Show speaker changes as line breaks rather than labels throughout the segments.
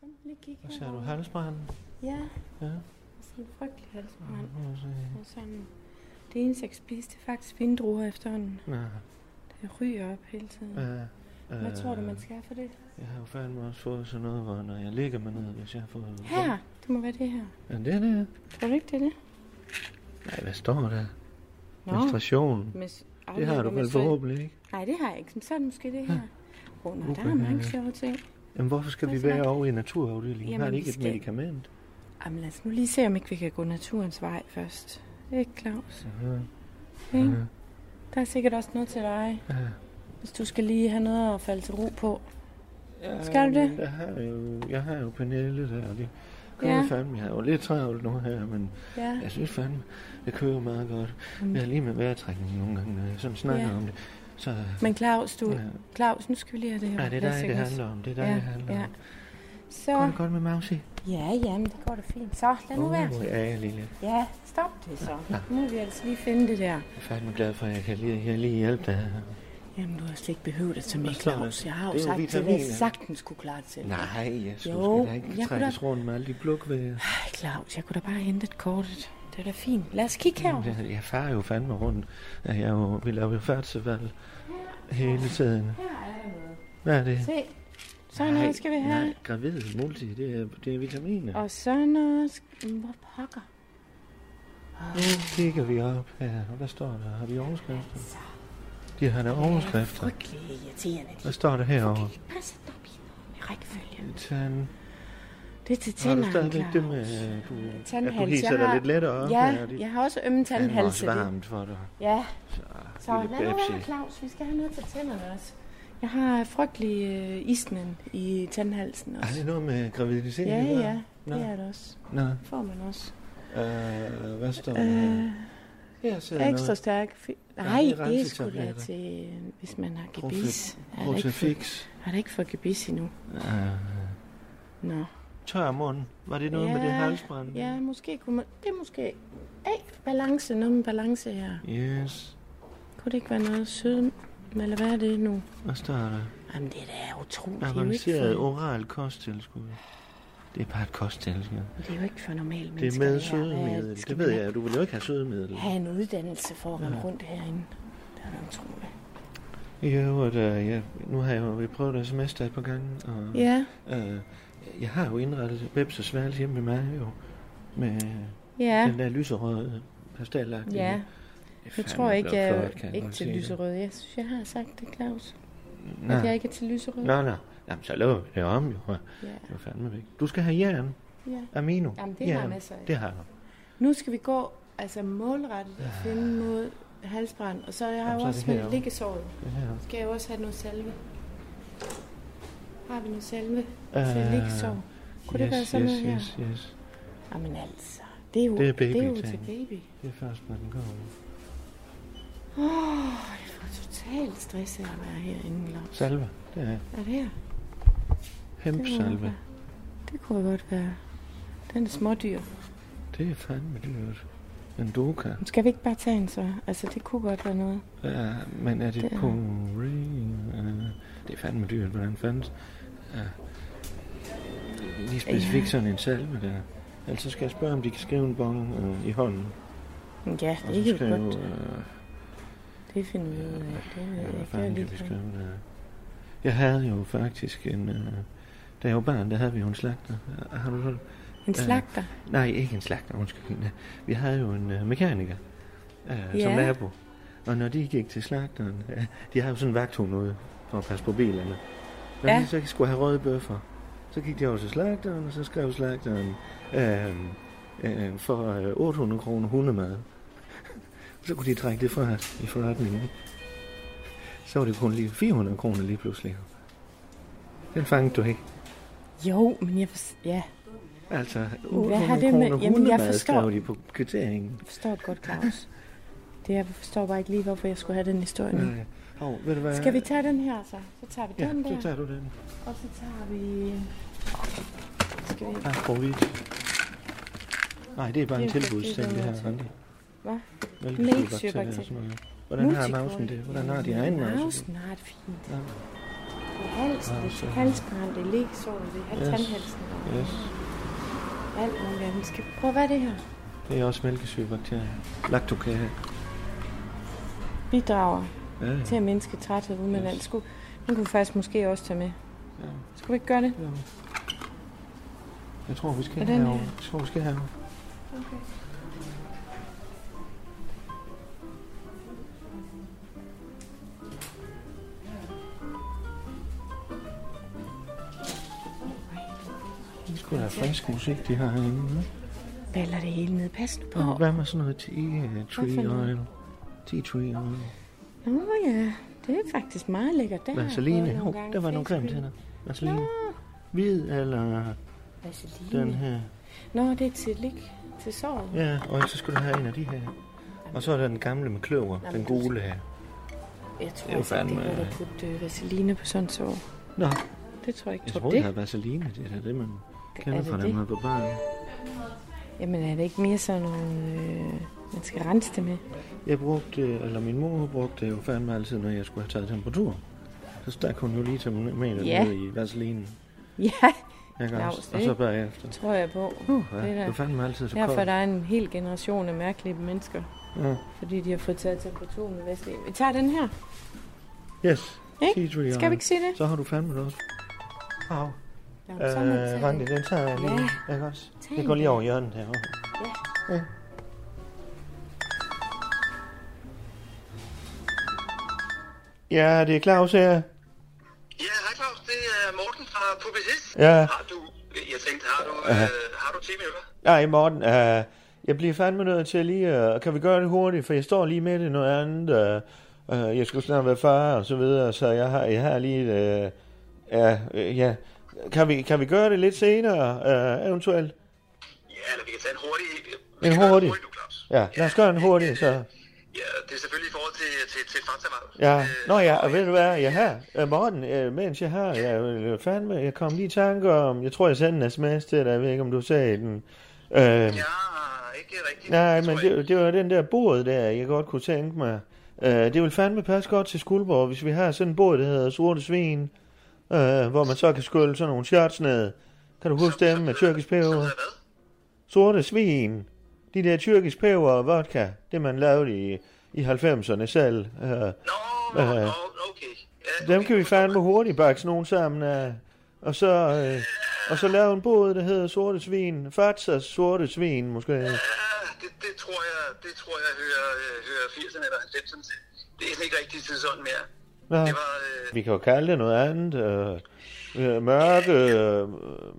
Sådan lige kigge
Og så har du halsbranden.
Ja,
Ja.
sådan en frygtelig halsbrand. Og sådan, det eneste, jeg kan spise, det er faktisk vindruer efterhånden.
Nå,
Det ryger op hele tiden.
øh, øh,
Mm. Hvad tror du, man skal have for det?
Jeg har jo fandme også fået sådan noget, hvor når jeg ligger mig ned, hvis jeg har fået...
Her! Det må være det her.
Ja, det er det.
Tror du ikke, det er det?
Nej, hvad står der? Menstruation.
Men, ej,
Det har
men altså-
du
men
vel
så-
forhåbentlig ikke.
Nej, det har jeg ikke. Men Så er det måske det her. Åh, oh, der er
Ubehageligt.
mange sjove ting.
Jamen, hvorfor skal
Hvad
vi
så?
være over i naturafdelingen?
Jamen,
har de
vi
ikke et
skal-
medicament?
Jamen lad os nu lige se, om ikke vi kan gå naturens vej først. Ikke, Claus?
Ja,
Ikke?
ja.
Der er sikkert også noget til dig.
Ja.
Hvis du skal lige have noget at falde til ro på. Skal du det?
men Jeg har jo, jeg har jo Pernille der, og det kommer
Ja.
ja. fandme. Jeg har jo lidt travlt nu her, men
Ja.
jeg synes fandme, det kører meget godt.
Mm.
Jeg er lige med vejrtrækning nogle gange, når jeg sådan snakker
Ja. Mm.
ja. om det. Så,
Men Claus, du...
ja.
Claus, nu skal vi lige have det her.
Nej,
på
det er
plads,
dig,
ikke
det
også?
handler om. Det er dig,
Ja,
det handler
ja.
om.
Så,
Går det godt med Mausi?
ja, ja, men det går da fint. Så, lad nu være.
Uh, ja, jeg er lige lidt.
Ja, stop det så. Nu vil jeg altså lige finde det der.
Jeg er fandme glad for, at jeg kan lige, jeg lige hjælpe dig.
Jamen, du har slet ikke behøvet at tage med,
Hvad står der?
Claus. Jeg har jo
Det er jo
sagt til dig, at jeg
vitaminer.
sagtens skulle klare det selv.
Nej, jeg synes,
Jo,
jo, skal da ikke
jeg kunne
trækkes rundt med alle de blukvæger.
Ej, Claus, jeg kunne da bare hente et kortet. Det er da fint. Lad os kigge herover.
Jeg, jeg farer jo fandme rundt. Jeg er jo, vi laver jo færdsvalg hele tiden.
Her er der noget.
Hvad er det?
Se, sådan noget skal vi have.
Nej, gravid multi, det er, det er vitaminer. Og
Og så noget... sk- Mm, Hvor pokker?
nu kigger vi op her, og hvad står der? Har vi overskrifter? De har der overskrifter.
Frygtelig irriterende.
Hvad står der herovre?
Bare sæt dig op i noget med rækkefølge.
Tand.
Det er til
Har du
tænderne,
stadigvæk det
Claus.
med, øh, du, at du
Tandhals.
hiser
Jeg
dig
har-
lidt lettere op?
Ja,
det
jeg har også ømme
er også
tandhalse. Det-
varmt for dig.
Ja,
Så,
så
lille
lad nu være,
Pepsi.
Claus. Vi skal have noget til tænderne også. Jeg har frygtelig øh, isnen i tandhalsen
Er
også.
det noget med graviditet?
Ja,
eller?
ja,
Nå,
det er det også.
nå.
Det får man også.
Øh, hvad står der her?
Øh,
Her sidder
ekstra
noget.
stærk. fi-
er
Nej, det er sgu da
rensetabletter.
til, øh, hvis man har
Profi-
gebis. Har der ikke, fået-
Protafix.
har der ikke fået gebis endnu?
Øh,
Nå.
tør mund. Var det noget med det
Ja,
halsbrænd?
Ja, måske kunne man... Det er måske... Ej, balance. Noget med balance her.
Yes.
Kunne det ikke være noget sødt? Eller hvad er det nu?
Hvad står der?
Jamen, det er da utroligt. Det er jo ikke
Avanceret
for,
oral kosttilskud. Det er bare et kosttilskud.
det er jo ikke for normale
Det er
mennesker.
med
her. Hvad er-
sødemiddel.
skal
Det
man
ved
have-
jeg. Du vil jo ikke have sødemiddel.
Have en uddannelse for at rende rundt herinde. Det er da utroligt.
I øvrigt, øh, ja, nu har jeg jo prøvet at sms dig et par gange, og
Ja,
øh, jeg har jo indrettet Websters værelse hjemme med mig jo, med
ja,
den der lyserøde pastellagtige.
ja.
Det er
Jeg tror
fandme
ikke,
blevet
jeg
flot, kan
er
jeg
ikke
godt
til
sige dig.
lyserød. Jeg synes, jeg har sagt det, Claus.
Nå,
At jeg ikke er til lyserød.
nå, nå. Jamen, så laver vi det om jo. Det
Ja,
var fandme væk. Du skal have jern,
ja.
amino.
Jamen, det har jeg
jern.
masser af.
Det har du.
Nu skal vi gå altså målrettet og finde mod halsbrand. Og så jeg har
Jamen,
jeg
så
jo
er
også
det
med
herovre.
liggesåret.
Det her.
Skal jeg også have noget salve? Har vi noget salve
Øh,
til liggesår? Kunne det
yes,
være sådan
yes,
noget her?
yes, yes.
Jamen altså, det er jo,
Det er
det er jo til
babyting.
baby.
Det er først, når den kommer.
Jeg er totalt stresset af at være herinde, Lars.
Salve. Det er
Er det her?
hempsalve.
Det kunne jo godt være. Den er smådyr.
Det er fandme dyrt. En doka.
Men Skal vi ikke bare tage en så? Altså, det kunne godt være noget.
Ja, Øh, men er det,
Det
det
er-
det er fandme dyrt, hvordan fanden? Ja. Lige specifikt sådan en salve der. Ellers så skal jeg spørge, om de kan skrive en bong øh, i hånden.
Men Ja,
Og
det
så
er jo
skal jeg jo,
godt.
øh,
Det finder vi ud af. Det ved
ja, hvad
jeg ikke. Jeg er
fanden kan vi
ligeglad.
skrive der? Jeg havde jo faktisk en... Øh, da jeg var barn, der havde vi jo en slagter. Har du hørt?
En slagter.
Nej, ikke en slagter, undskyld. Vi havde jo en øh, mekaniker øh,
Ja.
som nabo. Og når de gik til slagteren, øh, de har jo sådan en vagthund ude for at passe på bilerne. Når
Ja.
ja. de så skulle have røde bøffer, så gik de over til slagteren, og så skrev slagteren øh, øh, for øh, 800 kroner hundemad. Så kunne de trække det fra i forretningen. Så var det kun lige 400 kroner lige pludselig. Den fangede du ikke.
Jo, men jeg forstår, ja,
Altså,
Hvad har
800
det med-
kroner
Jamen, jeg
hundemad,
forstår.
skrev de på kvitteringen.
forstår det godt, Claus. Det jeg forstår bare ikke lige, hvorfor jeg skulle have den historie nu.
Nej. Øh, Hov, ved du hvad?
Skal vi tage den her så? Så tager vi
Ja,
den
så
der,
tager du den.
og så tager vi... Skal vi...
Ah, Provit. Nej, det er bare en
Det er jo
tilbudsting, det
faktisk
her,
noget
Randi.
Hvad?
Mælkesyrebakterier
Mælkesyrebakterier.
og sådan noget. Hvordan har mausen det? Hvordan har de egen mausen?
Mausen har det fint.
Ja.
Det er halsen, det
Mausen.
er halsbrand, det er lægsår, det er
Ah, Yes.
tandhalsen og
Yes,
alt muligt andet. Skal vi prøve, hvad er det her?
det er også mælkesyrebakterier. Lactokage.
Bidrager
Ja, ja.
til at mindske træthed uden med
Yes.
yes. Skulle, den kunne vi faktisk måske også tage med.
Ja.
Skulle vi ikke gøre det?
Jo. Jeg tror, vi skal
Og den
herover.
her.
Jeg tror, vi skal herover.
Okay.
Det er sgu da frisk musik, de har herinde. hva'?
Baller det hele ned. Pas nu på.
Og hvad med sådan noget tea øh,
Hvad for
tree
noget?
oil? Tea tree oil.
Nå ja, det er faktisk meget lækkert. Der
Vaseline. Hov, der var nogle creme til dig. Vaseline. Hvid eller
Vaseline.
den her.
Nå, det er til lig til såret.
Ja, og så skulle du have en af de her. Og så er der den gamle med kløver, den gule her.
Jeg
Det
tror
er jo
altså ikke,
fandme-
det er godt at putte øh, vaseline på sådan et sår.
Nå,
Det tror jeg ikke.
jeg
Tror
tror,
du
det
det?
havde vaseline. Det er da det, man
Er
kender
det
fra dem
det?
her på barnet.
Jamen er det ikke mere sådan noget, øh, man skal rense det med?
Jeg brugte, eller min mor brugte det jo fandme altid, når jeg skulle have taget temperatur. Så stak hun jo lige til meter
Ja.
ja. ned i vaselinen.
Ja,
Jeg kan
Claus,
også, og
ikke?
så bagefter.
tror jeg på.
Uh,
Det er
ja,
da-
det fandt mig altid så
Derfor er
koldt.
der en hel generation af mærkelige mennesker,
Ja.
fordi de har fået taget temperaturen med vaseline. Vi tager den her.
Yes,
Ikke?
tea tree
Skal vi
oil.
ikke sige det?
Så har du fandme det også. Au.
Nå,
Øh,
så må vi tage
Randi,
den.
den tager jeg lige. Ja. Jeg, også.
Tag
jeg
en
går lige
del.
over hjørnet her. Ja, det er Claus her.
Ja, hej Claus, det er Morten fra Publicis.
Ja.
Har du, jeg tænkte, har du, øh, har du 10 minutter?
Nej, Morten, øh, jeg bliver fandme nødt til lige... Øh, kan vi gøre det hurtigt? For jeg står lige midt i noget andet. Øh, øh, jeg skal snart være far og så videre, så jeg har, jeg har lige... et, Øh, ja, øh, ja. Kan vi, kan vi gøre det lidt senere, øh, eventuelt?
Ja, eller vi kan tage en hurtig... vi kan
En
gøre det
hurtig.
nu, Claus.
Ja, lad os gøre den hurtigt, så...
Ja, det er selvfølgelig i forhold til, til, til faktavarvet.
Ja,
Øh,
nå ja, og ved du hvad, jeg har, øh, Morten, øh, mens jeg har, jeg øh, fandme, jeg kom lige i tanke om, jeg tror, jeg sendte en sms til dig, jeg ved ikke, om du sagde den. Øh,
Ja, ikke rigtigt.
nej,
Det
men
tror jeg
det, det var den der båd der, jeg godt kunne tænke mig. Øh, det ville fandme passe godt til Skuldborg, hvis vi har sådan en båd, der hedder Sorte Svin, øh, hvor man så kan skylle sådan nogle shots ned. Kan du
ikke.
huske dem med tyrkisk
Så
peber?
hedder hvad?
Sorte Svin, de der tyrkisk peber og vodka, det man lavede i, i 90'erne selv. Øh,
Nå,
Øh,
nå, okay. Ja,
Dem
okay.
kan vi fandme hurtigt bakke sådan nogle sammen af. Og så, øh, og så lave en båd, der hedder Sorte Svin. Fatsas Sorte Svin, måske.
Ja, det, det, tror jeg, det tror jeg hører, øh, hører 80'erne eller 90'erne til. Det er ikke rigtig til sådan mere.
Nå.
Det var... Øh,
Vi kan jo kalde det noget andet. Øh, øh, mørke, øh,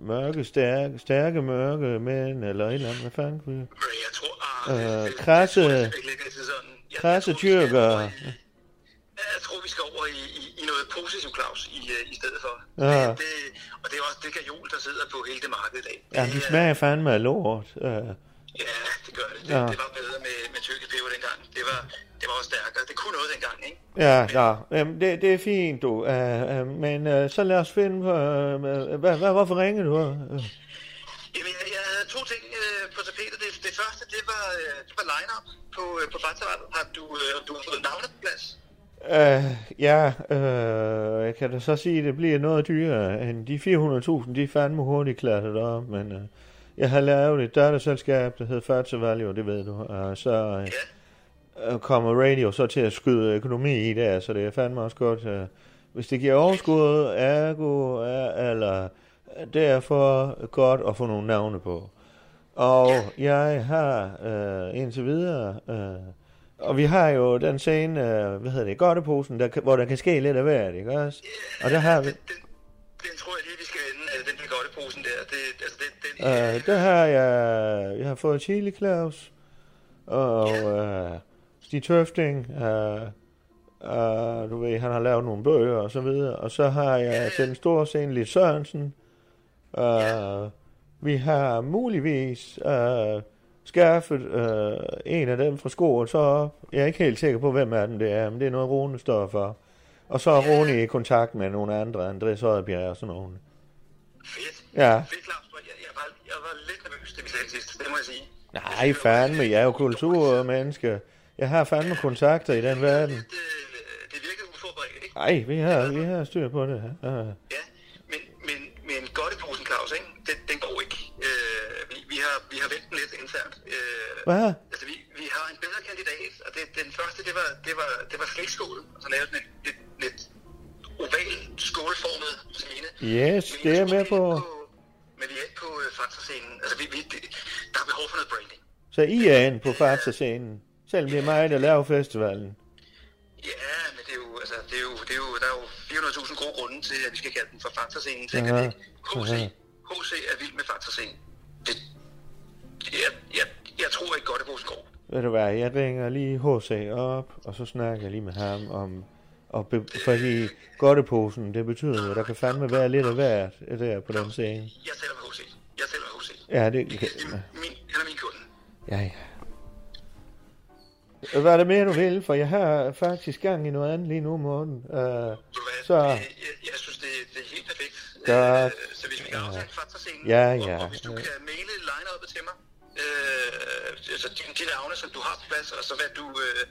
mørke, stærke, stærke mørke mænd, eller et eller andet. Hvad fanden kunne vi...
Øh, Jeg tror, ah,
Øh,
det- det-
krasse-
det tror jeg slet ikke ligger til sådan. Jeg- jeg
krasse
tror, vi skal
tyrkere.
over i- øh, Ja, Jeg tror, vi skal over i, i, i noget positivt, Claus, i, øh, i stedet for.
Ja.
Det, det, og det er også det gajol, der sidder på hele det marked i dag.
Ja,
Det
de
er-
smager fandme af lort. Øh,
Ja, det gør det. Det,
Ja.
det var bedre med, med tyrkisk peber dengang. Det var, det var også stærkere. Det kunne noget dengang, ikke?
ja, ja. Jamen, det, det er fint, du. Øh, øh, men øh, så lad os finde... Øh, øh, hvad, hvad, hvorfor ringer du? Øh,
Jamen, jeg, jeg havde to ting øh, på tapetet. Det, det første, det var, øh, det var line-up på, øh, på Faktavalget. Har du, øh, du har fået navnet på plads?
Øh, ja, øh, jeg kan da så sige, at det bliver noget dyrere end de 400.000, de er fandme hurtigt klatret op, men øh, jeg har lavet et datterselskab, der hedder Fats Value, det ved du, og så øh, øh, kommer radio så til at skyde økonomi i der, så det er fandme også godt, øh, hvis det giver overskud, ergo, er, eller øh, derfor godt at få nogle navne på. Og jeg har øh, indtil videre, øh, og vi har jo den scene, øh, hvad hedder det, Godteposen, der, kan- hvor der kan ske lidt af hvert, ikke også? Og der har vi,
Den, den, den tror jeg lige, vi skal vende. Altså, den der godteposen der. Det, altså, den, den,
øh, der har jeg, jeg har fået Chili Claus, og øh, Stig Tøfting, øh, øh, du ved, han har lavet nogle bøger og så videre, og så har jeg den store scene, Lis Sørensen, Uh, Vi har muligvis uh, skaffet uh, en af dem fra skoen, så jeg er ikke helt sikker på, hvem af dem det er, men det er noget, Rune står for. Og så er Rune i kontakt med nogle andre, Andreas Oddbjerg og sådan nogle.
Fedt.
Ja.
Fedt, Claus. Jeg, jeg, var, jeg var lidt nervøs, det vi sagde sidst, det må jeg sige.
Nej, fandme, jeg er jo kulturmenneske. Jeg har fandme kontakter i den verden.
Lidt, øh, det virkede uforberedt, ikke?
Nej, vi har, vi har styr på det. Uh,
Ja, men, men, men godt i posen, Claus, ikke? Den, den går ikke. Øh, vi, vi, har, vi har ventet lidt internt. Øh,
hvad?
Altså, vi, vi har en bedre kandidat, og det, den første, det var, det var, det var slægtskålen, og så lavede den en lidt, lidt oval skålformet scene.
Yes,
Men
det er jeg
tror,
med
vi
på.
Men vi er ikke på øh, faktorscenen. Altså, vi, vi, det, der er behov for noget branding.
Så I er inde på fartscenen, selvom det er mig, der laver festivalen.
Ja, men det er jo, altså, det er jo, det er jo, der er jo 400.000 gode grunde til, at vi skal kalde den for faktorscenen. Tænker
Aha,
vi. HC,
aha.
HC er vild med faktorscenen. Det, jeg, jeg, jeg tror ikke godt, at vores går.
Ved du hvad, jeg ringer lige HC op, og så snakker jeg lige med ham om... Og be, fordi godteposen, det betyder jo, der kan fandme være lidt af hvert der på den scene.
Jeg sælger med HC. Jeg sælger med HC.
Ja, det kan...
Min, han er min kunde.
Ja, ja. Hvad er det mere, du vil? For jeg har faktisk gang i noget andet lige nu, Morten. Uh,
Ved du hvad,
Så-
jeg, jeg, jeg synes, det, det er helt perfekt.
Godt.
Øh, så hvis vi kan aftale faktorscenen,
Ja,
og,
ja.
og hvis du kan maile line-upet til mig, øh, altså dine de navne, som du har på plads, og så hvad du, øh,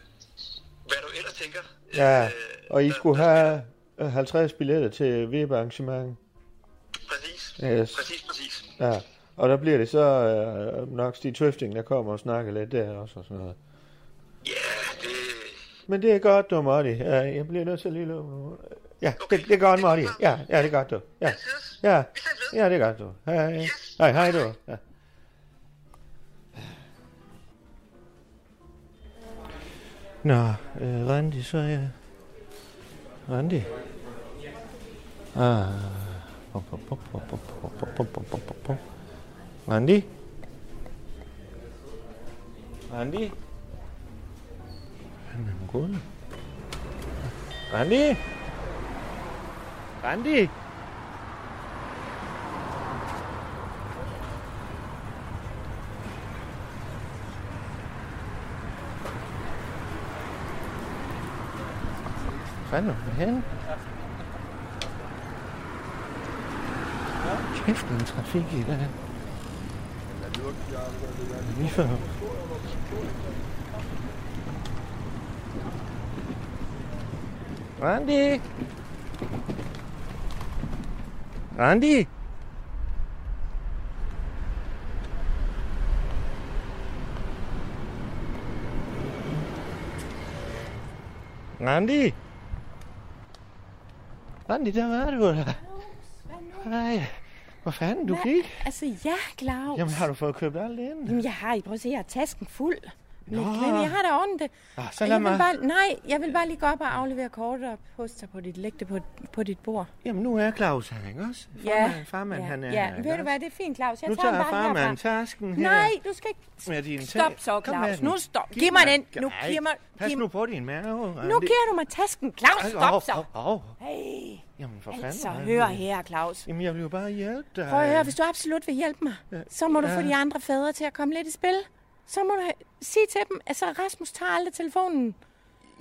hvad du ellers tænker.
ja,
øh,
og I
der-
skulle
der-
have øh, 50 billetter til VIP-arrangement.
Præcis,
Yes.
præcis, præcis.
Ja, og der bliver det så øh, nok Stig Tøfting, der kommer og snakker lidt der også og sådan noget.
Ja, det...
Men det er godt, du, Marty. Ja, jeg bliver nødt til at lige løbe nu. Ja, det, det er godt, Marty. Ja, ja, det er godt, du. Ja, ja, ja det er godt, du. Hej, hej, hej du. Ja. Nå, øh, Randi, så er jeg... Randi? Ah. Bum, bum, bum, bum, bum, bum, bum, bum, bum, bum, bum, bum. Randi? Randi? Han er en god. Randi? Randi? Fanden, hvor er han henne? Kæft, der er trafik i dag. Lige før. Randi! Randi! Randi! Randi, der var du da. Hej. Hvor fanden, du gik?
Altså, ja, Claus.
Jamen, har du fået købt alt ind?
Jamen, jeg har, I prøv at se, jeg har tasken fuld. Men,
Nå.
men jeg har da ordnet det.
Ah, så
Og
lad
jeg vil
mig...
bare, nej, jeg vil bare lige gå op og aflevere kortet og poste dig på dit, lægge det på, på dit bord.
Jamen, nu er Claus her, ikke også? Farmand, farmand
ja,
han er her,
ja.
ikke
Ved du
også?
hvad, det er fint, Claus. Jeg
Nu
tager, den
tager
bare
farmanden
herfra.
tasken her.
Nej, du skal ikke...
Med din
Stop
tag.
så,
Kom med
Claus.
den.
Nu stop. Giv mig den. Nu
Ej,
giver mig...
Pas
giv-
nu på din mave.
Nu giver du mig tasken. Claus, stop så.
Au, au.
Hey,
Jamen, for fanden.
altså,
Randi.
hør her, Claus.
Jamen, jeg vil jo bare hjælpe dig.
Prøv at høre, hvis du absolut vil hjælpe mig, så må du få
ja.
de andre fædre til at komme lidt i spil. Så må du sige til dem, altså Rasmus tager aldrig telefonen.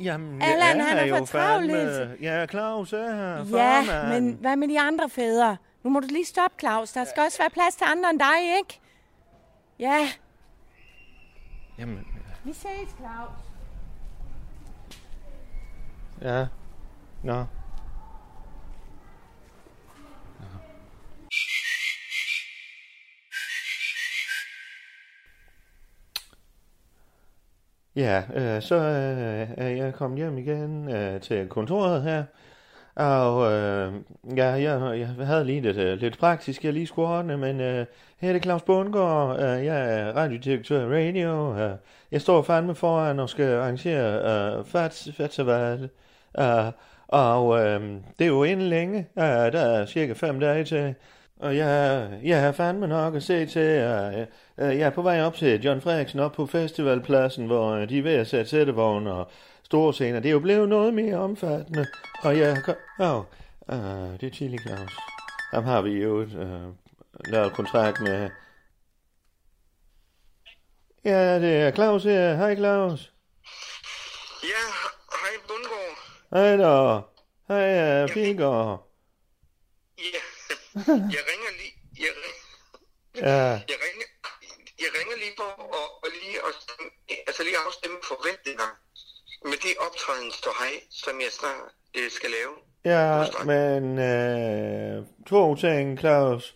Jamen,
Allan,
jeg er
han
her
har
jo
fået travlt
fandme. Ja, Claus er her.
Ja,
farmand.
men hvad med de andre fædre? Nu må du lige stoppe, Claus. Der skal også være plads til andre end dig, ikke? Ja,
Jamen,
vi ses, Claus.
ja. Nå. Ja, øh, så øh, er jeg kommet hjem igen øh, til kontoret her, og øh, ja, jeg, jeg havde lige lidt, øh, lidt praktisk, jeg lige skulle ordne, men øh, her er det Claus Bundgaard, øh, jeg er radiodirektør i radio, øh, jeg står fandme foran og skal arrangere øh, fats, fatsavale, øh, og øh, det er jo inden længe, øh, der er cirka fem dage til, og jeg, jeg har fandme nok at se til. Jeg, jeg er på vej op til John Frederiksen op på festivalpladsen, hvor øh, de er ved at sætte sættevogn og store scener. Det er jo blevet noget mere omfattende. øh, Og jeg... Åh, oh, uh, det er Chili Claus. Ham har vi jo et... Uh, lavet kontrakt med... Ja, det er Claus her. Hej Claus.
Ja, hej Bundgaard.
Hej da. Hej uh, Pilgaard.
Ja, jeg ringer lige. Jeg, ring-
Ja,
jeg, ringer, jeg ringer lige på og, og lige, og, altså lige afstemme forventninger med det optræden, står hej, som jeg snart øh, skal lave.
ja men øh, to ting, Claus.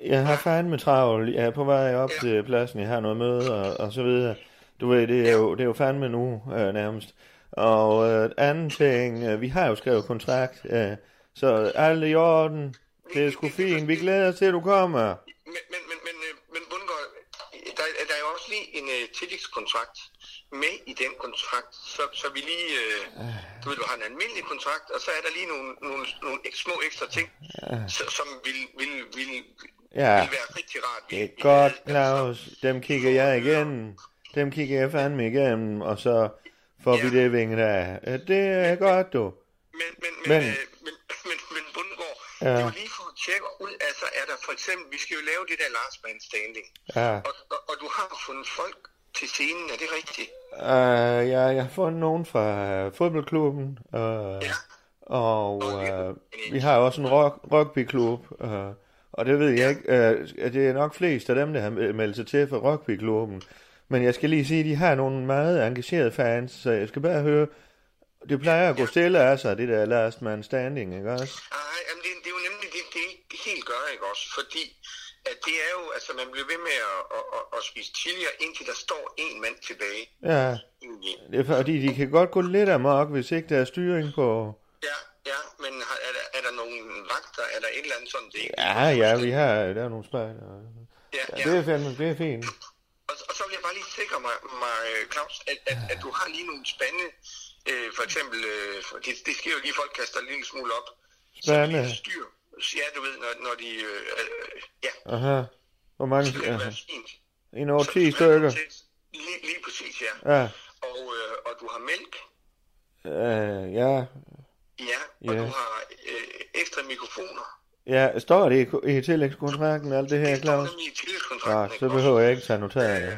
Jeg har fandme travlt. Jeg er på vej op
Ja.
til pladsen. Jeg har noget møde og, og så videre. Du ved, det er jo, det er jo fandme nu øh, nærmest. Og øh, anden ting, øh, vi har jo skrevet kontrakt, øh, så alt er i orden. Det er sgu fint. Vi glæder os til, at du kommer.
Men, men, men, men, øh, men Bundgaard, der, er- der er jo også lige en øh, tillægskontrakt med i den kontrakt, så, så vi lige, øh, du ved, du har en almindelig kontrakt, og så er der lige nogle, nogle, nogle ek- små ekstra ting, så, som vil, vil, vil,
Ja.
vil være rigtig rart.
Det er godt, Claus. Dem kigger jeg igennem. Dem kigger jeg fandme igennem, og så får vi
Ja.
det vinget af. Ja, Det er godt, du.
Men, men, men,
Men-
men, øh, men, men, men Bundgaard,
Ja.
ja. det er jo lige for at tjekke ud, altså er der for eksempel, vi skal jo lave det der last man standing,
Ja.
og, og, og du har jo fundet folk til scenen, er det rigtigt?
Uh, jeg, jeg har fundet nogen fra øh, fodboldklubben, uh,
Ja.
og uh, vi har også en rock, rugbyklub, uh, og det ved jeg ikke, uh, det er nok flest af dem, der har meldt sig til for rugbyklubben, men jeg skal lige sige, at de har nogle meget engagerede fans, så jeg skal bare høre, det plejer at gå stille af sig, det der last man standing, ikke også?
Nej, Ah, jamen det, det er jo nemlig det, det ikke helt gør, ikke også? Fordi at det er jo, altså man bliver ved med at, at, at, at spise chilier, indtil der står en mand tilbage.
Ja,
egentlig.
det er fordi, de kan godt gå lidt amok, hvis ikke der er styring på...
Ja, ja, men har, er, der, er der nogen vagter, er der et eller andet sådan, det ikke?
Ja, ja, vi har... Der er nogle spejder.
ja,
Ja,
ja.
det er fandme, det er fint.
Og, og så vil jeg bare lige sikre mig, mig øh, Claus, at, at, at du har lige nogle spande, øh, for eksempel, øh, for det, det sker jo lige, folk kaster en lille smule op. Så er det
Spande.
lige styr. Ja, du ved, når, når de, øh, øh, ja,
Aha. Hvor mange...
det kan
Aha.
være fint.
En over 10
Så du skal have
stykker.
nogle til- Lige, lige præcis, ja.
Ja.
Og, øh, og du har mælk,
Øh, ja.
ja, og
Ja.
du har øh, ekstra mikrofoner.
Ja, står det i, ko- i tillægskontrakten, alt det her,
står
Claus?
nemlig i tillægskontrakten,
Ja,
ikke
så
også?
behøver jeg ikke tage noteringer.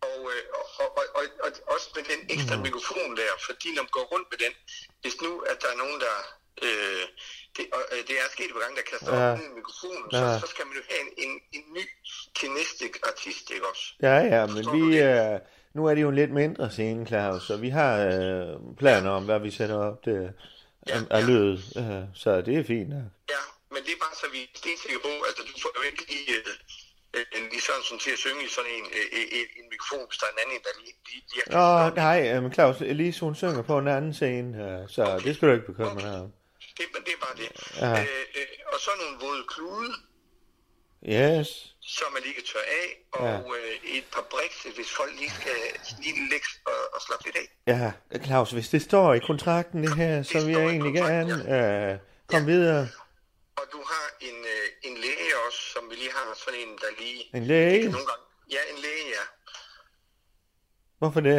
Og, øh, og, og, og, og også med den
Mm.
ekstra mikrofon der, fordi når man går rundt med den, hvis nu at der er nogen, der... Øh, det, og, øh, det er sket hver gang, der kaster
Ja.
op ned i mikrofonen, så,
Ja.
så skal man jo have en, en, en ny kinestisk artist, ikke også?
Ja, ja, men vi... Øh, nu er det jo en lidt mindre scene, Claus, så vi har øh, planer om, hvad vi sætter op det, af, af lyd, øh, så det er fint nok.
Ja, men det er bare så, vi er stensikre på, altså du får jo ikke lige øh, en Lis Sørensen til at synge i sådan en, øh, øh, øh, en mikrofon, hvis der er en anden, en, der lige... lige, lige
Nå, nej, øh, men Claus, Elise, hun synger på en anden scene, øh, så det skal du ikke bekymre dig om.
Det, det er bare det.
Ja.
Øh, øh, og så nogle våde klude,
Yes.
som man lige kan tørre af, og øh, et par brikse, hvis folk lige skal lige ligge og, og slappe lidt af.
Ja, Claus, hvis det står i kontrakten det her, så vil jeg egentlig gerne øh, komme videre.
Og du har en, øh, en læge også, som vi lige har sådan en, der lige...
En læge?
Nogle gange, ja, en læge, ja.
Hvorfor det?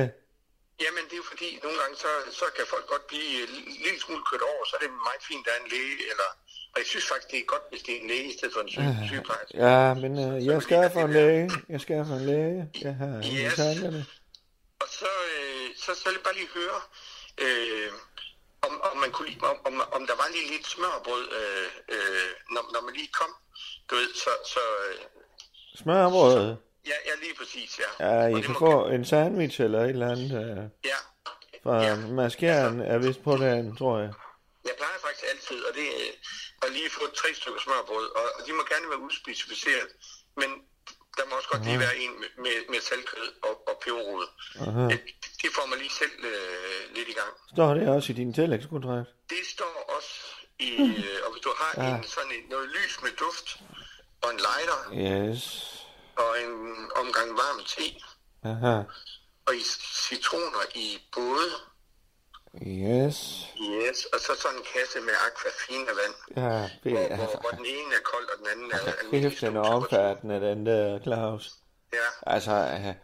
Jamen, det er jo fordi, nogle gange, så, så kan folk godt blive øh, en lille smule kørt over, så er det meget fint, at der er en læge, eller... Og jeg synes faktisk, det er godt, hvis det er en læge, i stedet for en syge, sygeplejerske.
Ja, men øh, jeg skal for en læge. Jeg skal for en læge. Jeg har yes.
Yes.
tankerne.
Og så, øh, så, så vil jeg bare lige høre, øh, om, om, man kunne lide, om, om, om der var lige lidt smørbrød, øh, øh, når, når man lige kom. Du ved, så, så øh,
Smørbrød.
ja, ja, lige præcis, ja.
Ja,
Og
I
det
kan
må-
få en sandwich eller et eller andet. Øh,
Ja.
fra Maskjern er vist på den, tror jeg.
Jeg plejer faktisk altid og det, øh, at lige få tre stykker smørbrød, og og de må gerne være udspecificeret, men der må også godt lige
Mhm.
være en med, med, med saltkød og, og peberrod.
Aha.
Det, det får mig lige selv øh, lidt i gang.
Står det også i din tillægskontrakt?
Det står også i, øh, og hvis du har en, sådan en, noget lys med duft, og en lighter,
Yes.
og en omgang varm te,
Aha.
og i citroner i både,
Yes.
yes, og så sådan en kasse med aquafina vand,
Ja, det
hvor,
er
hvor, hvor den ene er kold, og den anden er
kæft, den er omfattende, den der, Claus.
Ja,
Altså, øh,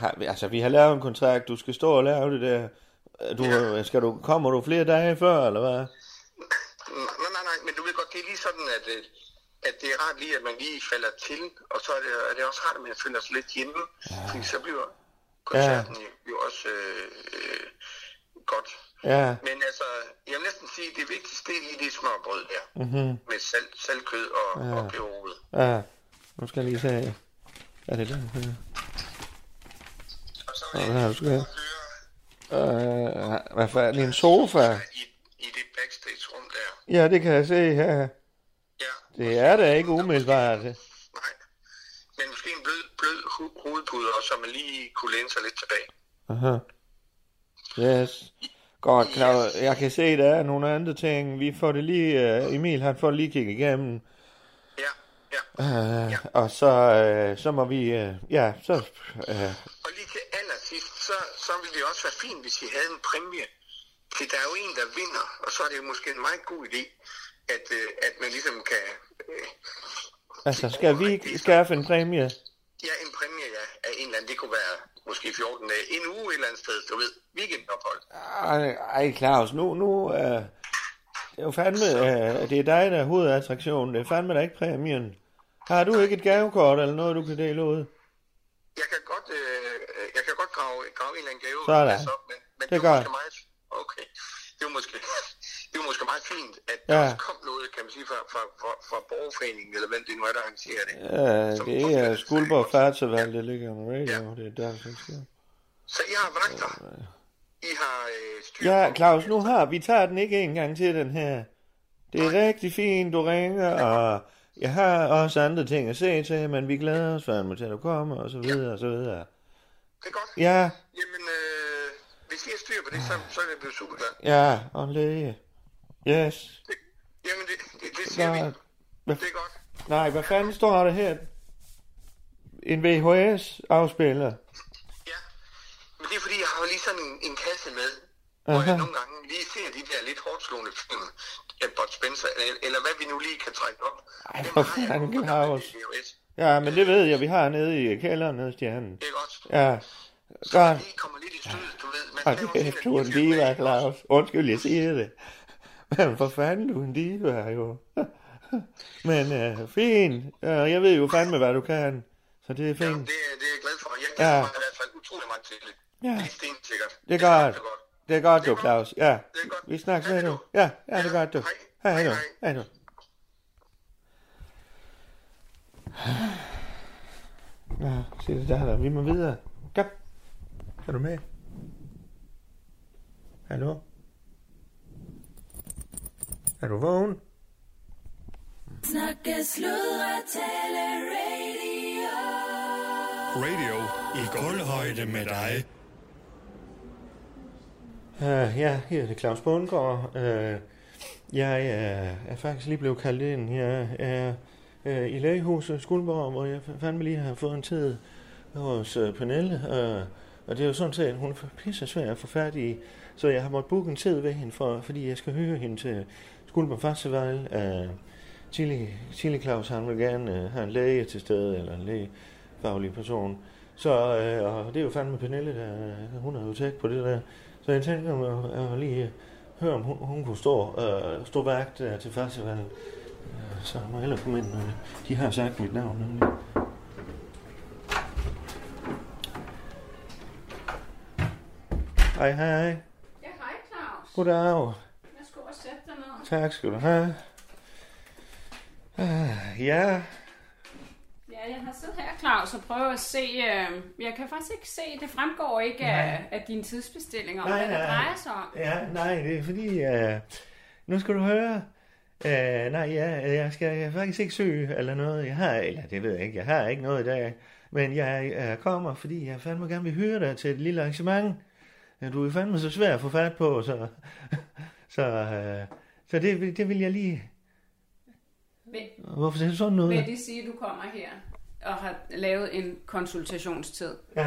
har, vi- altså, vi har lavet en kontrakt, du skal stå og lave det der. Øh, Du, øh, skal du, kommer du flere dage før, eller hvad?
nej, nej, nej, men du ved godt, det er lige sådan, at øh, at det er rart lige, at man lige falder til, og så er det, er det også rart, at man føler sig lidt hjemme, ja. fordi så bliver koncerten ja. jo også øh, øh, godt.
Ja.
Men altså, jeg vil næsten sige, at det vigtigste det er lige det smørbrød der, mm-hmm. med salt, saltkød og, ja. og peberrod.
Ja. Nu skal jeg lige se. Er det den her?
Og så
Nå,
vil
den
jeg
her, du skal have.
høre
Øh, hvad for er det? En sofa?
i, i det backstage-rum der.
Ja, det kan jeg se her.
Ja.
Det er da ikke umiddelbart.
Nej. Men måske en blød, blød hu- hovedpude, og så man lige kunne læne sig lidt tilbage.
Aha. Yes. Godt, Claus. Jeg kan se, der er nogle andre ting. Vi får det lige... Uh, Emil, han får lige kigget igennem.
Ja, ja.
Uh, og så, uh, så må vi... Uh, ja, så... Uh,
Og lige til allersidst, så, så ville det også være fint, hvis I havde en præmie. For der er jo en, der vinder, og så er det jo måske en meget god idé, at, øh, at man ligesom kan... Øh,
altså, skal vi skaffe en præmie?
ja, en præmie ja, af en eller anden, det kunne være måske 14 dage, en uge et eller andet sted, du ved, weekendophold.
Ej, ej, Claus, nu... nu uh, det er jo fandme... Uh, det er dig, der er hovedattraktionen. Det er fandme da ikke præmien. Har du ikke et gavekort eller noget, du kan dele ud?
Jeg kan godt, øh, øh, jeg kan godt grave, grave en eller anden gave.
Sådan.
op, men, men
Det
det,
gør
var
jeg.
måske meget, okay. det var måske, det var måske meget fint, at
Ja.
der også kom noget, kan man sige, fra, fra, fra, fra borgerforeningen, eller hvem det nu er, der arrangerer det.
Uh,
Som
det er
fortsætter.
Skuldborg Færdsevald, det ligger on radio. Det er der, der skal.
Så I har vagter. I har øh, styr
Ja,
på-
Claus, nu har vi tager den ikke en gang til, den her. Det er rigtig fint, du ringer, og jeg har også andre ting at se til, men vi glæder os fandme til, at du kommer, og så videre, og så videre.
Det er godt.
Ja,
Jamen, øh, hvis I har styr på det, så, så er jeg blevet super glad.
ja, og en læge. Yes.
Jamen, det, det, det siger vi.
Der, hvad,
Det er godt.
nej, hvad fanden står der her? En VHS-afspiller.
Ja. Men det er fordi, jeg har jo lige sådan en, en kasse med, hvor
Aha.
jeg nogle gange lige ser de der lidt hårdt slående film af Bud Spencer, eller, eller hvad vi nu lige kan trække op.
Ej,
Dem
hvor
har jeg
fanden,
nogle gange
Claus.
med VHS.
Ja, men det ved jeg, vi har nede i kælderen nede i stjernen.
Det er godt.
Ja,
Så
godt.
man lige kommer lidt i stødet, du ved. Man
Og
kan jo
kæft,
også
du er en
se, at de er
diva,
filmet.
Claus. Undskyld, jeg siger det. Men for fanden, du er en diva, jo. Men øh, fint. Øh, jeg ved jo fandme, hvad du kan. Så det er
Ja,
fint.
det, er- det er jeg glad for. Jeg glæder
Ja.
mig i hvert fald utrolig meget til det.
Ja.
Det er stensikkert.
Det er
klart,
godt.
det
Det
er godt.
er godt,
Det er
du,
godt.
Claus. Ja,
Det er godt.
vi snakkes
Hej,
ved nu.
du.
Ja, ja, det er
Ja,
godt, du.
hej.
Hej,
Hej,
nu. Hej,
hej.
nu. Ja, se det der, der. Vi må videre. Kom. Er du med? Hallo? Er du vågen?
Snakke, sludre, tale, radio.
Radio i guldhøjde med dig.
Uh, jeg hedder Claus Bundgaard. Uh, jeg uh, er faktisk lige blevet kaldt ind her uh, uh, i lægehuset Skuldborg, hvor jeg fandme lige har fået en tid hos uh, Pernille. Uh, og det er jo sådan set, at hun er pisse svær at få fat i, så jeg har måttet booke en tid ved hende, for, fordi jeg skal høre hende til Skuldborg Festival. Uh, Chili, Chili Claus, han vil gerne uh, have en læge til stede, eller en lægefaglig person. Så øh, og det er jo fandme Pernille, der, hun er jo tæt på det der. Så jeg tænkte om at, at lige høre, om hun, hun kunne stå, øh, stå værkt øh, til festivalen. Øh, Så jeg må hellere komme ind. Øh, de har sagt mit navn nemlig. Hej, hej.
Ja, hej Claus.
Goddag.
Jeg skulle også sætte dig ned.
Tak skal du have. Ah, ja,
Ja, jeg har siddet her, Claus, og prøvet at se... Øh, jeg kan faktisk ikke se, det fremgår ikke af, af dine tidsbestillinger, om
Nej,
hvad det
nej.
drejer sig om.
Ja, nej, det er fordi, øh, nu skal du høre, øh, nej, ja, jeg skal jeg er faktisk ikke søge eller noget, jeg har, eller det ved jeg ikke, jeg har ikke noget i dag, men jeg øh, kommer, fordi jeg fandme gerne vil høre dig til et lille arrangement. Ja, Du er fandme så svær at få fat på, så, så, øh, så det, vil- det vil jeg lige,
Vil,
hvorfor siger du sådan
vil
noget?
det sige, at du kommer her og har lavet en konsultationstid,
Ja,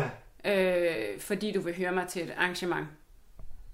øh, fordi du vil høre mig til et arrangement?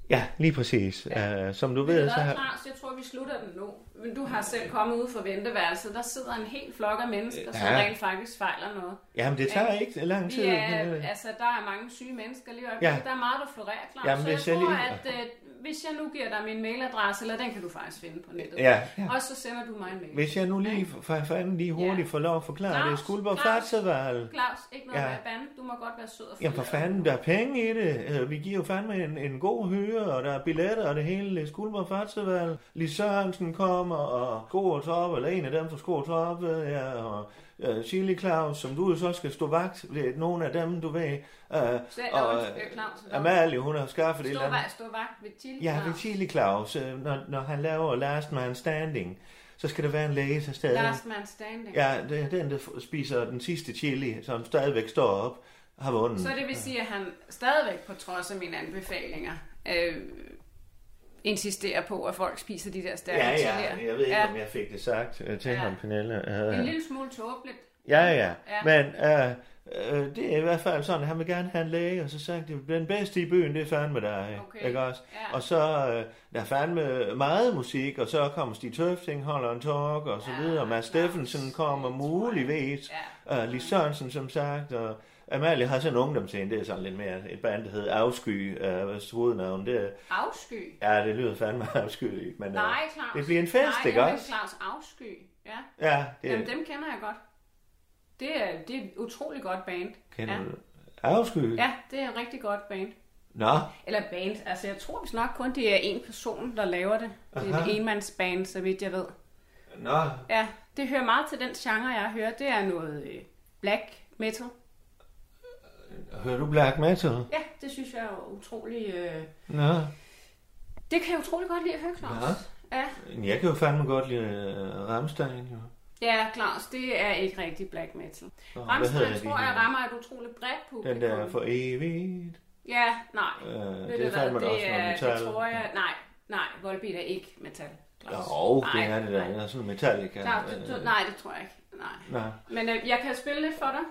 ja lige præcis. Ja. Uh, som du ved,
Ved
så
du hvad,
har...
Claus? Jeg tror, vi slutter den nu.
men du har selv kommet ud fra venteværelset, der sidder en hel flok af mennesker, som
Ja.
rent faktisk fejler noget.
Jamen, det tager ikke lang tid.
Ja,
men, øh,
altså der er mange syge mennesker lige i øjeblikket.
Ja.
Ja. Der er meget, der florerer, Claus.
Jamen,
så jeg
hvis jeg
tror,
lige-
at øh, hvis jeg nu giver dig min mailadresse, eller den kan du faktisk finde på nettet,
Ja, ja.
og så sender du mig en mail.
Hvis jeg nu lige, for fanden lige hurtigt
Ja.
får lov at forklare det.
Claus,
Skuldborg
Claus.
Fartseval.
Claus, ikke noget
Ja.
ja. med at bande. Du må godt være sød og
Jamen for fanden, der er penge i det. Øh, Vi giver jo fandme en, en god hyre, og der er billetter og det hele. Skuldborg Fartseval. Lis Sørensen kommer, og Skortop, eller en af dem fra Skortop, ved jeg, og øh, Silje Claus, som du jo så skal stå vagt. ved Nogle af dem, du ved. Øh,
Så er der
og
jo, øh, Claus,
øh, Amalie, hun har skaffet et
Stå,
eller andet.
vagt, stå vagt ved Tilly.
Ja, ved
Claus.
Silje Claus, øh, når, når han laver Last Man Standing, så skal der være en læge til stede.
Last man standing.
Ja, det er den, der f- spiser den sidste chili, som stadigvæk står op, har vundet.
Så det vil sige, at han stadigvæk, på trods af mine anbefalinger, øh, insisterer på, at folk spiser de der stærke
Ja,
chilier.
ja, jeg ved ikke, om jeg fik det sagt øh, til ja.
Ja.
ham, Pernille.
En
Øh,
lille smule tåbeligt.
Ja, ja,
Ja.
men øh, øh, det er i hvert fald sådan, at han vil gerne have en læge, og så sagde han, den bedste i byen, det er fandme dig,
Okay.
ikke også?
Ja.
Og så, øh, der er fandme meget musik, og så kommer Stig Tøfting, holder en talk, og så
Ja,
videre, og Mads
klart.
Steffensen kommer muligvis,
Ja.
og Lis Sørensen, som sagt, og Amalie har sådan en ungdomsscene, det er sådan lidt mere et band, der hedder Afsky, øh, hovednavn, det er
Afsky.
Ja, det lyder fandme afskyeligt, men
Nej,
øh,
Claus.
det bliver en fest,
Nej,
ikke
jamen,
også? Øh.
Claus, afsky. Ja.
Ja, det
Jamen, dem kender jeg godt. Det er, det er et utrolig godt band.
kender
ja.
du. Afsky?
Ja, det er et rigtig godt band.
Nå,
Eller band. Altså, jeg tror vist nok kun, det er en person, der laver det. Det er
Aha.
et enmandsband, så vidt jeg ved.
nå,
Ja, det hører meget til den genre, jeg hører. Det er noget øh, black metal.
hører du Black Metal?
Ja, det synes jeg er utrolig... Øh...
Nå,
Det kan jeg utrolig godt lide at høre, Claus.
Ja.
Ja.
jeg kan jo fandme godt lide øh, Rammstein, jo.
ja, Claus, det er ikke rigtig black metal.
Nå, hvad hedder
Rammstein
de
tror jeg
her?
rammer et utroligt bredt publikum.
Den der for evigt.
Ja,
Øh,
nej. Ved
det
du
er fandme
hvad,
da også noget
er-
metal.
Det tror jeg... Nej, nej, Volbeat er ikke metal. Claus.
Jo, det
Nej,
er det
nej.
der. Sådan Metallica.
Claus, det,
øh,
du, nej, det tror jeg ikke. Nej.
Nå.
Men øh, jeg kan spille lidt for dig,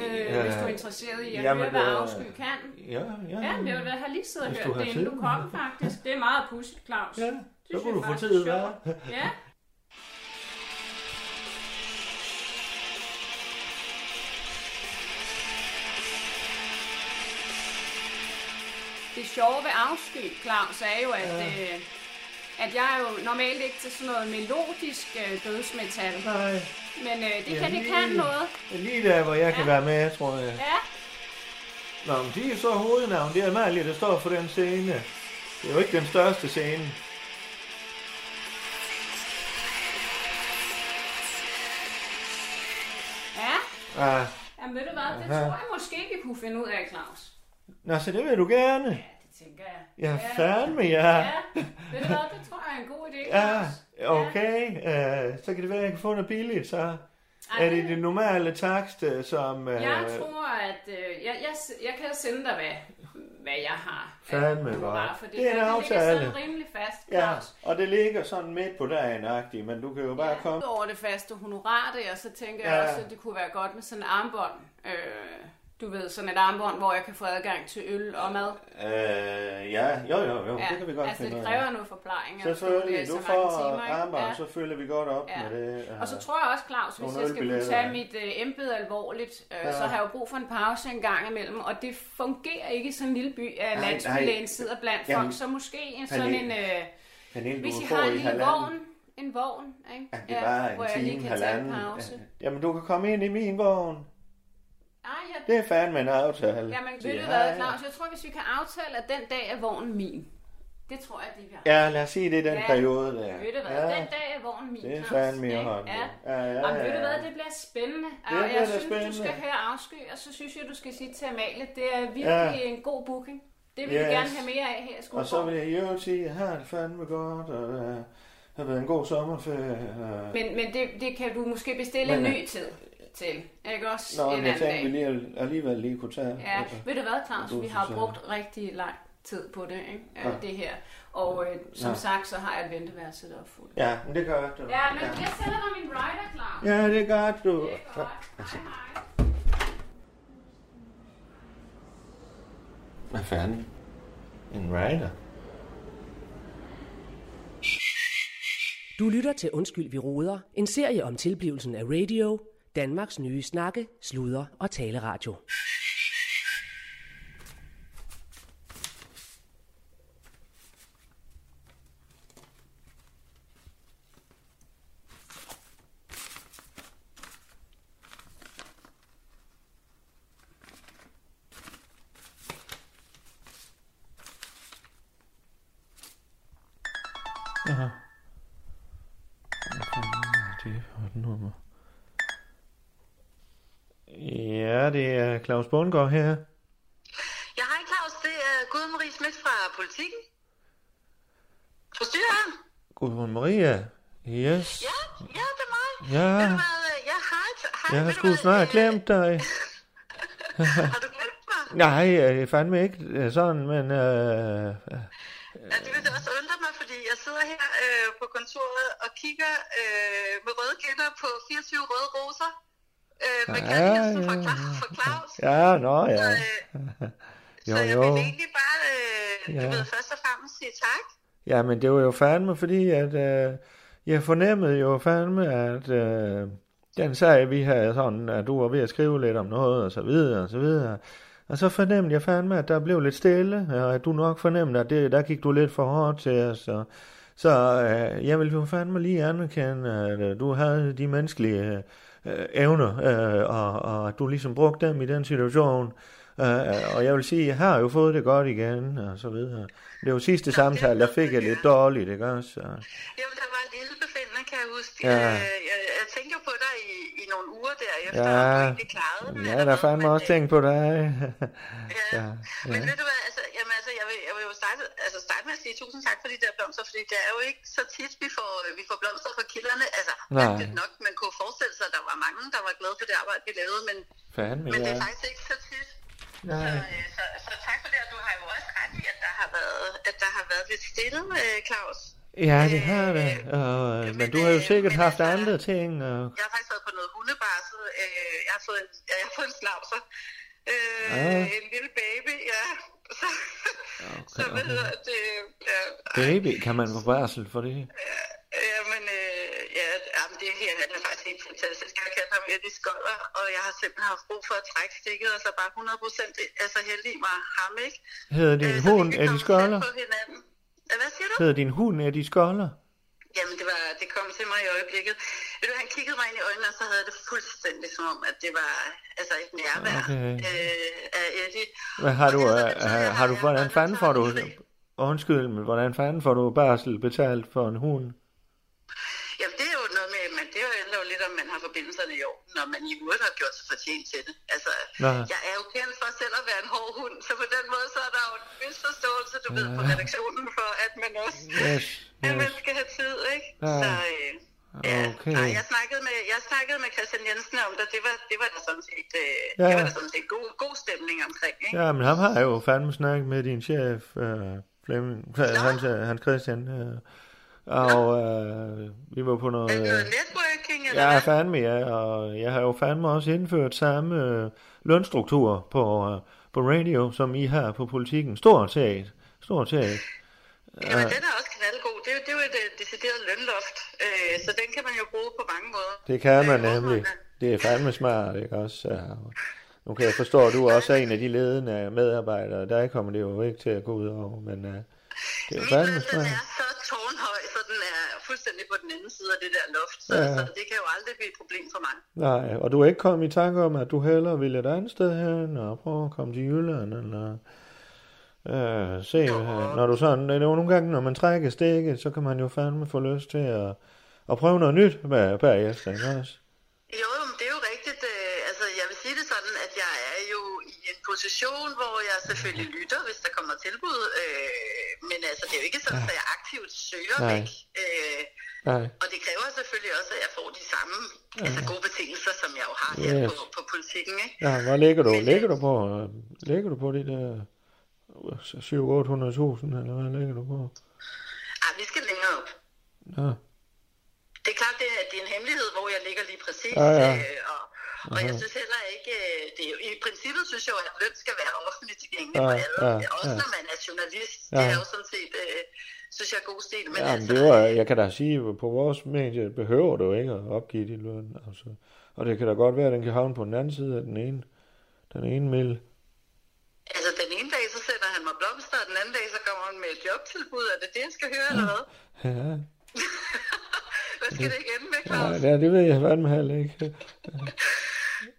øh,
Ja.
hvis du er interesseret i at
Jamen,
høre, hvad
øh,
afsky kan.
Ja, ja.
Ja, men jeg vil have lige siddet og
Hvis du
hørt det,
har
inden
tid.
du kom, faktisk. Det er meget pudsigt, Claus.
Ja,
Det
så
synes
kunne du
jeg
få
faktisk
tid,
er sjovt.
hva'?
Ja. Det sjove ved afsky, Claus, er jo, at, ja. øh, at jeg er jo normalt ikke til sådan noget melodisk øh, dødsmetal.
Nej,
Men øh, det,
Ja,
kan, det
lige-
kan noget.
lige der, hvor jeg kan
Ja.
være med, tror jeg.
Ja.
Nå, men de er så hovednavn. Det er Amalie, der står for den scene. Det er jo ikke den største scene.
Ja.
Ah,
Jamen ved du hvad, det
Aha.
tror jeg måske, vi kunne finde ud af, Claus.
nå, så det vil du gerne.
Ja, det tænker jeg.
Ja, fandme, ja.
Ja, ved du hvad, det tror jeg er en god idé,
Ja,
Claus.
okay. Uh, så kan det være, at jeg kan få noget billigt, så.
Ej,
Er det det normale takst, øh, som... Uh,
Jeg tror, at øh, jeg, jeg, jeg kan sende dig, hvad, hvad jeg har. af
Fandme
honorar
godt.
For det,
Det er en
Men Det
aftale.
ligger sådan rimelig fast,
Ja,
Claus.
og det ligger sådan midt på dagen men du kan jo bare
Ja.
ja. komme.
Udover det faste honorar der, så tænker
Ja.
jeg også, at det kunne være godt med sådan et armbånd. Øh, du ved, sådan et armbånd, hvor jeg kan få adgang til øl og mad.
Øh, ja, jo, jo, jo, ja. det kan vi godt
altså,
finde
det
ud af.
kræver noget forplejning. at stå der i
Selvfølgelig,
øh, så
du
mange
får
timer, ikke?
armbånd,
Ja.
så følger vi godt op
Ja.
med det. øh.
Og så tror jeg også, Claus, hvis
Nogle
jeg skal kunne
ølbilletter.
tage mit øh, embede alvorligt, øh,
Ja.
ja. så har jeg jo brug for en pause en gang imellem, og det fungerer ikke i sådan en lille by, at
Nej, nej.
landsbylægen sidder blandt
Jamen,
folk, så måske en
Pernille,
sådan en, øh,
Pernille,
hvis
du
I
får
har
i
en lille
halvanden.
vogn, en vogn, ikke?
Ja, det er bare
hvor
en
jeg lige
time,
kan tage en
halvanden.
pause.
Ja. Jamen, du kan komme ind i min vogn.
Ej, jeg,
Det er fandme en aftale.
jamen,
Siger
ved du
jeg.
hvad, Claus, jeg tror, hvis vi kan aftale, at den dag er vognen min. Det tror jeg, det vi har.
Ja, lad os sige, det er den
Ja.
periode der.
Ved du hvad,
ja.
den dag er vognen min.
Det er
Claus,
fandme i
ikke?
hånden.
Ja.
Ja, ja,
Jamen,
ja,
ved du
ja.
hvad, det bliver spændende. Og
bliver da
jeg synes,
spændende.
du skal høre afsky, og så synes jeg, du skal sige til Amalie, det er virkelig
Ja.
en god booking. Det vil
Yes.
vi gerne have mere af her i
Og så
skolegården.
vil jeg i øvrigt sige, at jeg har det fandme godt, og øh, det har været en god sommerferie. Og...
Men, men det, det kan du måske bestille
Men, øh,
en ny tid til, ikke også?
Nå,
en
men jeg
anden
tænkte,
dag.
vi lige alligevel lige kunne tage.
Ja, ved du hvad,
du
Claus, vi
synes,
har
jeg-
brugt rigtig lang tid på det, ikke? Ja.
Ja.
det her. Og øh, som
Ja.
sagt, så har jeg et venteværelse, der er fuldt.
Ja, men det gør jeg. Det
Ja, men jeg sender dig min rider, Claus.
ja, det gør du.
Det er godt. Hej, hej.
Hvad fanden? En rider?
Du lytter til Undskyld, vi roder, en serie om tilblivelsen af radio, Danmarks nye snakke, sludder og taleradio.
Det var et nummer. Ja, det er Claus Bundgaard her.
Jeg har ikke Claus, det er Gud Marie Schmidt fra politikken. Forstyrrer jeg?
Gudrun Maria. Yes.
Ja, ja, det er mig.
Ja.
Ved du hvad, øh, Ja, hej. t- hej
Jeg har
ved du
sgu
hvad,
snart
øh,
glemt dig.
Har du glemt mig?
Nej, jeg er fandme ikke øh, sådan, men... Øh,
Ja, det ville da også undre mig, fordi jeg sidder her øh, på kontoret og kigger øh, med røde kinder på 24 røde roser. Øh, med
Ja,
kærligheden fra,
ja,
Cla- fra Claus.
ja, nå
Så,
ja.
øh,
Jo,
så jeg
jo.
vil egentlig bare, øh, du
Ja.
ved, først og fremmest sige tak.
Ja, men det var jo fandme, fordi at, øh, jeg fornemmede jo fandme, at øh, den sag, vi havde sådan, at du var ved at skrive lidt om noget, og så videre, og så videre. Og så fornemmede jeg fandme, at der blev lidt stille, og at du nok fornemmede, at det, der gik du lidt for hårdt til os. Og, så øh, jeg ville jo fandme lige anerkende, at øh, du havde de menneskelige øh, øh, evner, øh, og, og at du ligesom brugte dem i den situation. Øh, og jeg vil sige, jeg har jo fået det godt igen, og så videre. Det var sidste samtale, der fik jeg lidt dårligt, ikke også? Og-
Jamen, der var et ildbefindende, kan jeg huske.
Ja.
Ja. Jeg, jeg tænker på dig i, i nogle uger derefter, ja. og
Ja,
egentlig klarede den,
ja
eller
der er
hvad,
fandme
men,
også
øh,
tænkt på dig.
Ja.
Ja,
Ja,
ja.
Men ved du hvad, altså, jamen, altså, jeg, vil, jeg vil jo starte, altså, starte med at sige tusind tak for de der blomster, fordi det er jo ikke så tit, vi får, vi får blomster fra kilderne. Altså,
Nej.
mærkeligt nok, man kunne forestille sig, at der var mange, der var glade for det arbejde, vi lavede, men,
Fandme,
men det
ja.
er faktisk ikke så tit. Så,
Nej.
øh, så, så, tak for det, og du har jo også ret i, at der har været, at der har været lidt stille, øh, Claus.
Ja, det har det. Og, øh, men du har jo sikkert haft andre ting. Og...
Jeg har faktisk været på noget hundebarsel. Øh, jeg har fået en, ja, jeg har fået en slapser. Øh,
Ah.
En lille baby, ja. Så, okay, så hvad
okay.
hedder det? øh, Ja,
Baby, kan man få barsel for det?
ja, men øh, ja, jamen, det her, han er faktisk helt fantastisk. Jeg har kaldt ham Eddie Skoller, og jeg har simpelthen haft brug for at trække stikket, og så bare 100 procent altså, heldig mig ham, ikke?
Hedder
Øh,
din
så vi
hund
kan
Eddie
komme tæt
Skoller?
på hinanden. Ja, Hvad siger du?
Hedder din hund Eddie Skoller?
Jamen, det, var, det kom til mig i øjeblikket. Ved du, han kiggede mig ind i øjnene, og så havde jeg det fuldstændig som om, at det var altså et nærvær
Okay.
øh, af Eddie.
Hvad har
Og
du,
det så
øh,
betydet,
har,
at
har du,
jeg
hvordan
måtte
fanden
tage
får du,
fri.
undskyld, men hvordan fanden får du barsel betalt for en hund?
Jamen, det er jo noget med, men det handler jo lidt om, at man har forbindelserne i orden, når man i øvrigt har gjort sig fortjent til det. Altså,
Nå.
jeg er jo kendt for selv at være en hård hund, så på den måde, så er der jo en vis forståelse, du ved, på redaktionen for, at man også
Yes,
at man
yes.
skal have tid, ikke?
Ja.
Så, øh, ja.
Okay.
Nej, jeg snakkede, med, jeg snakkede med Christian Jensen om det, det var, det var der sådan set, øh,
Ja.
ja. det var der sådan set god, god stemning omkring, ikke?
Ja, men ham har jeg jo fandme snakket med din chef, øh, Flemming, øh, Hans, øh, Hans Christian, øh, og øh, vi var på
Er det
noget...
noget
Øh,
Altså, networking, eller
Ja,
hvad?
fandme, ja, og jeg har jo fandme også indført samme øh, lønstruktur på, øh, på radio, som I har på politikken. Stort set, stort set. Øh.
Jamen, den er også knaldgod. Det er, jo- det er jo et øh, decideret lønloft, øh, så den kan man jo bruge på mange måder.
Det kan man
Øh,
nemlig.
overholdende.
Det er fandme smart, ikke også? Ja. Nu kan jeg forstå, at du også er en af de ledende medarbejdere. Der kommer det jo ikke til at gå ud over, men øh, det er
Min
fandme
løn, den er
smart.
så tårnhøj, så den er fuldstændig på den anden side af det der loft, så,
Ja.
så det kan jo aldrig blive et problem for mig.
Nej, og du er ikke kommet i tanke om, at du hellere ville et andet sted hen, og prøve at komme til Jylland, eller øh, se, øh, når du sådan, det er jo nogle gange, når man trækker stikket, så kan man jo fandme få lyst til at, at prøve noget nyt bag- bagefter, ikke også?
Jo, jo, men det er jo rigtigt. Øh, altså, jeg vil sige det sådan, at jeg er jo i en position, hvor jeg selvfølgelig lytter, hvis der kommer tilbud. Øh, men altså, det er jo ikke sådan, at jeg aktivt søger
Nej.
væk. Øh,
Nej,
og det kræver selvfølgelig også, at jeg får de samme altså, gode betingelser, som jeg jo har her
Yes.
på, på politikken. Ikke?
ja, hvor ligger du?
Men-
Ligger du på, øh, ligger du på de der øh, 700-800.000, eller hvad ligger du på?
Ej, vi skal længere op.
Nå,
Det er klart, det er, det er en hemmelighed, hvor jeg ligger lige præcis.
Ja, ja.
Øh, og, og jeg synes heller ikke, øh, det er, jo- i princippet synes jeg jo, at løn skal være offentligt tilgængelig
Ja,
for alle.
ja,
Ja, også
ja.
når man er journalist.
Ja.
Det er jo sådan set, øh, synes jeg er god stil. Men altså, øh,
Jamen, det var, jeg kan da sige, at på vores medie behøver du ikke at opgive din løn. Altså. Og det kan da godt være, at den kan havne på den anden side af den ene, den ene mil.
Altså, den ene dag, så sender han mig blomster, og den anden dag, så kommer han med et jobtilbud. Er det det, jeg skal høre, eller hvad?
Ja,
Hvad skal det ikke ende med, Claus?
ja, det ved jeg fandme heller ikke.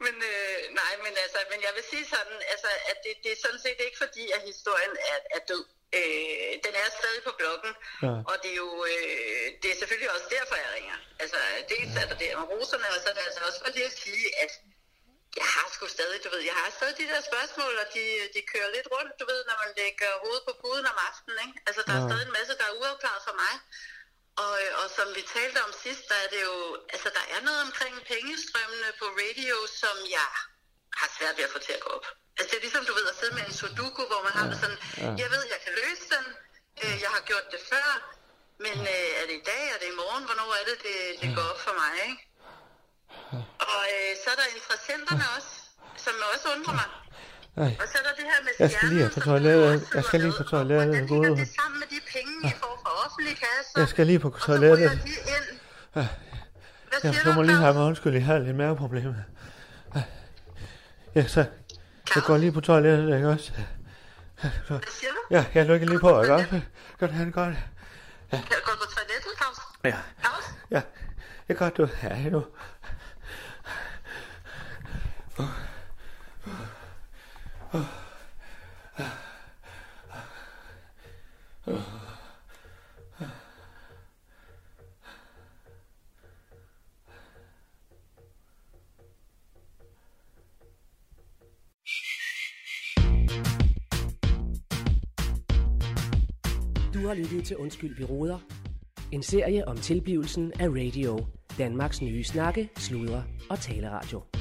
Men, øh, nej, men, altså, men jeg vil sige sådan, altså, at det, det er sådan set ikke fordi, at historien er, er død. Øh, den er stadig på bloggen,
Ja.
ja. og det er jo øh, det er selvfølgelig også derfor, jeg ringer. Altså, dels er der det med roserne, og så er det altså også for lige at sige, at jeg har sgu stadig, du ved, jeg har stadig de der spørgsmål, og de, de kører lidt rundt, du ved, når man lægger hovedet på puden om aftenen, ikke? Altså, der er
Ja.
stadig en masse, der er uafklaret for mig. Og, øh, og som vi talte om sidst, der er det jo, altså der er noget omkring pengestrømmene på radio, som jeg har svært ved at få til at gå op. Altså det er ligesom, du ved, at sidde med en sudoku, hvor man har det sådan, jeg ved, jeg kan løse den, øh, jeg har gjort det før, men øh, er det i dag, er det i morgen, hvornår er det, det, det går op for mig, ikke? Og øh, så er der interessenterne også, som også undrer mig.
Ej.
Og så er der det her med
Jeg skal lige
stjernen,
på
som du
toilettet.
også
Jeg skal
sidder
lige på
med, og
toilettet.
Hvordan
Gud.
hænger det sammen med de penge, I får fra offentlige kasser?
Jeg skal lige på
Og så
toilettet.
ryger de ind. Hvad
Jeg
siger
du
du,
må lige have
Claus?
mig undskyld, jeg har lidt maveproblemer. Ja, så jeg
Claus?
går lige på toilettet, ikke også?
Hvad siger du?
Ja, jeg lukker lige på, ikke også? Godt, han godt.
Kan du gå på toilettet, Claus?
Ja,
Claus?
ja. Det er godt, du er nu.
Du har lyttet til Undskyld, vi råder. En serie om tilblivelsen af radio. Danmarks nye snakke, sludre og taleradio.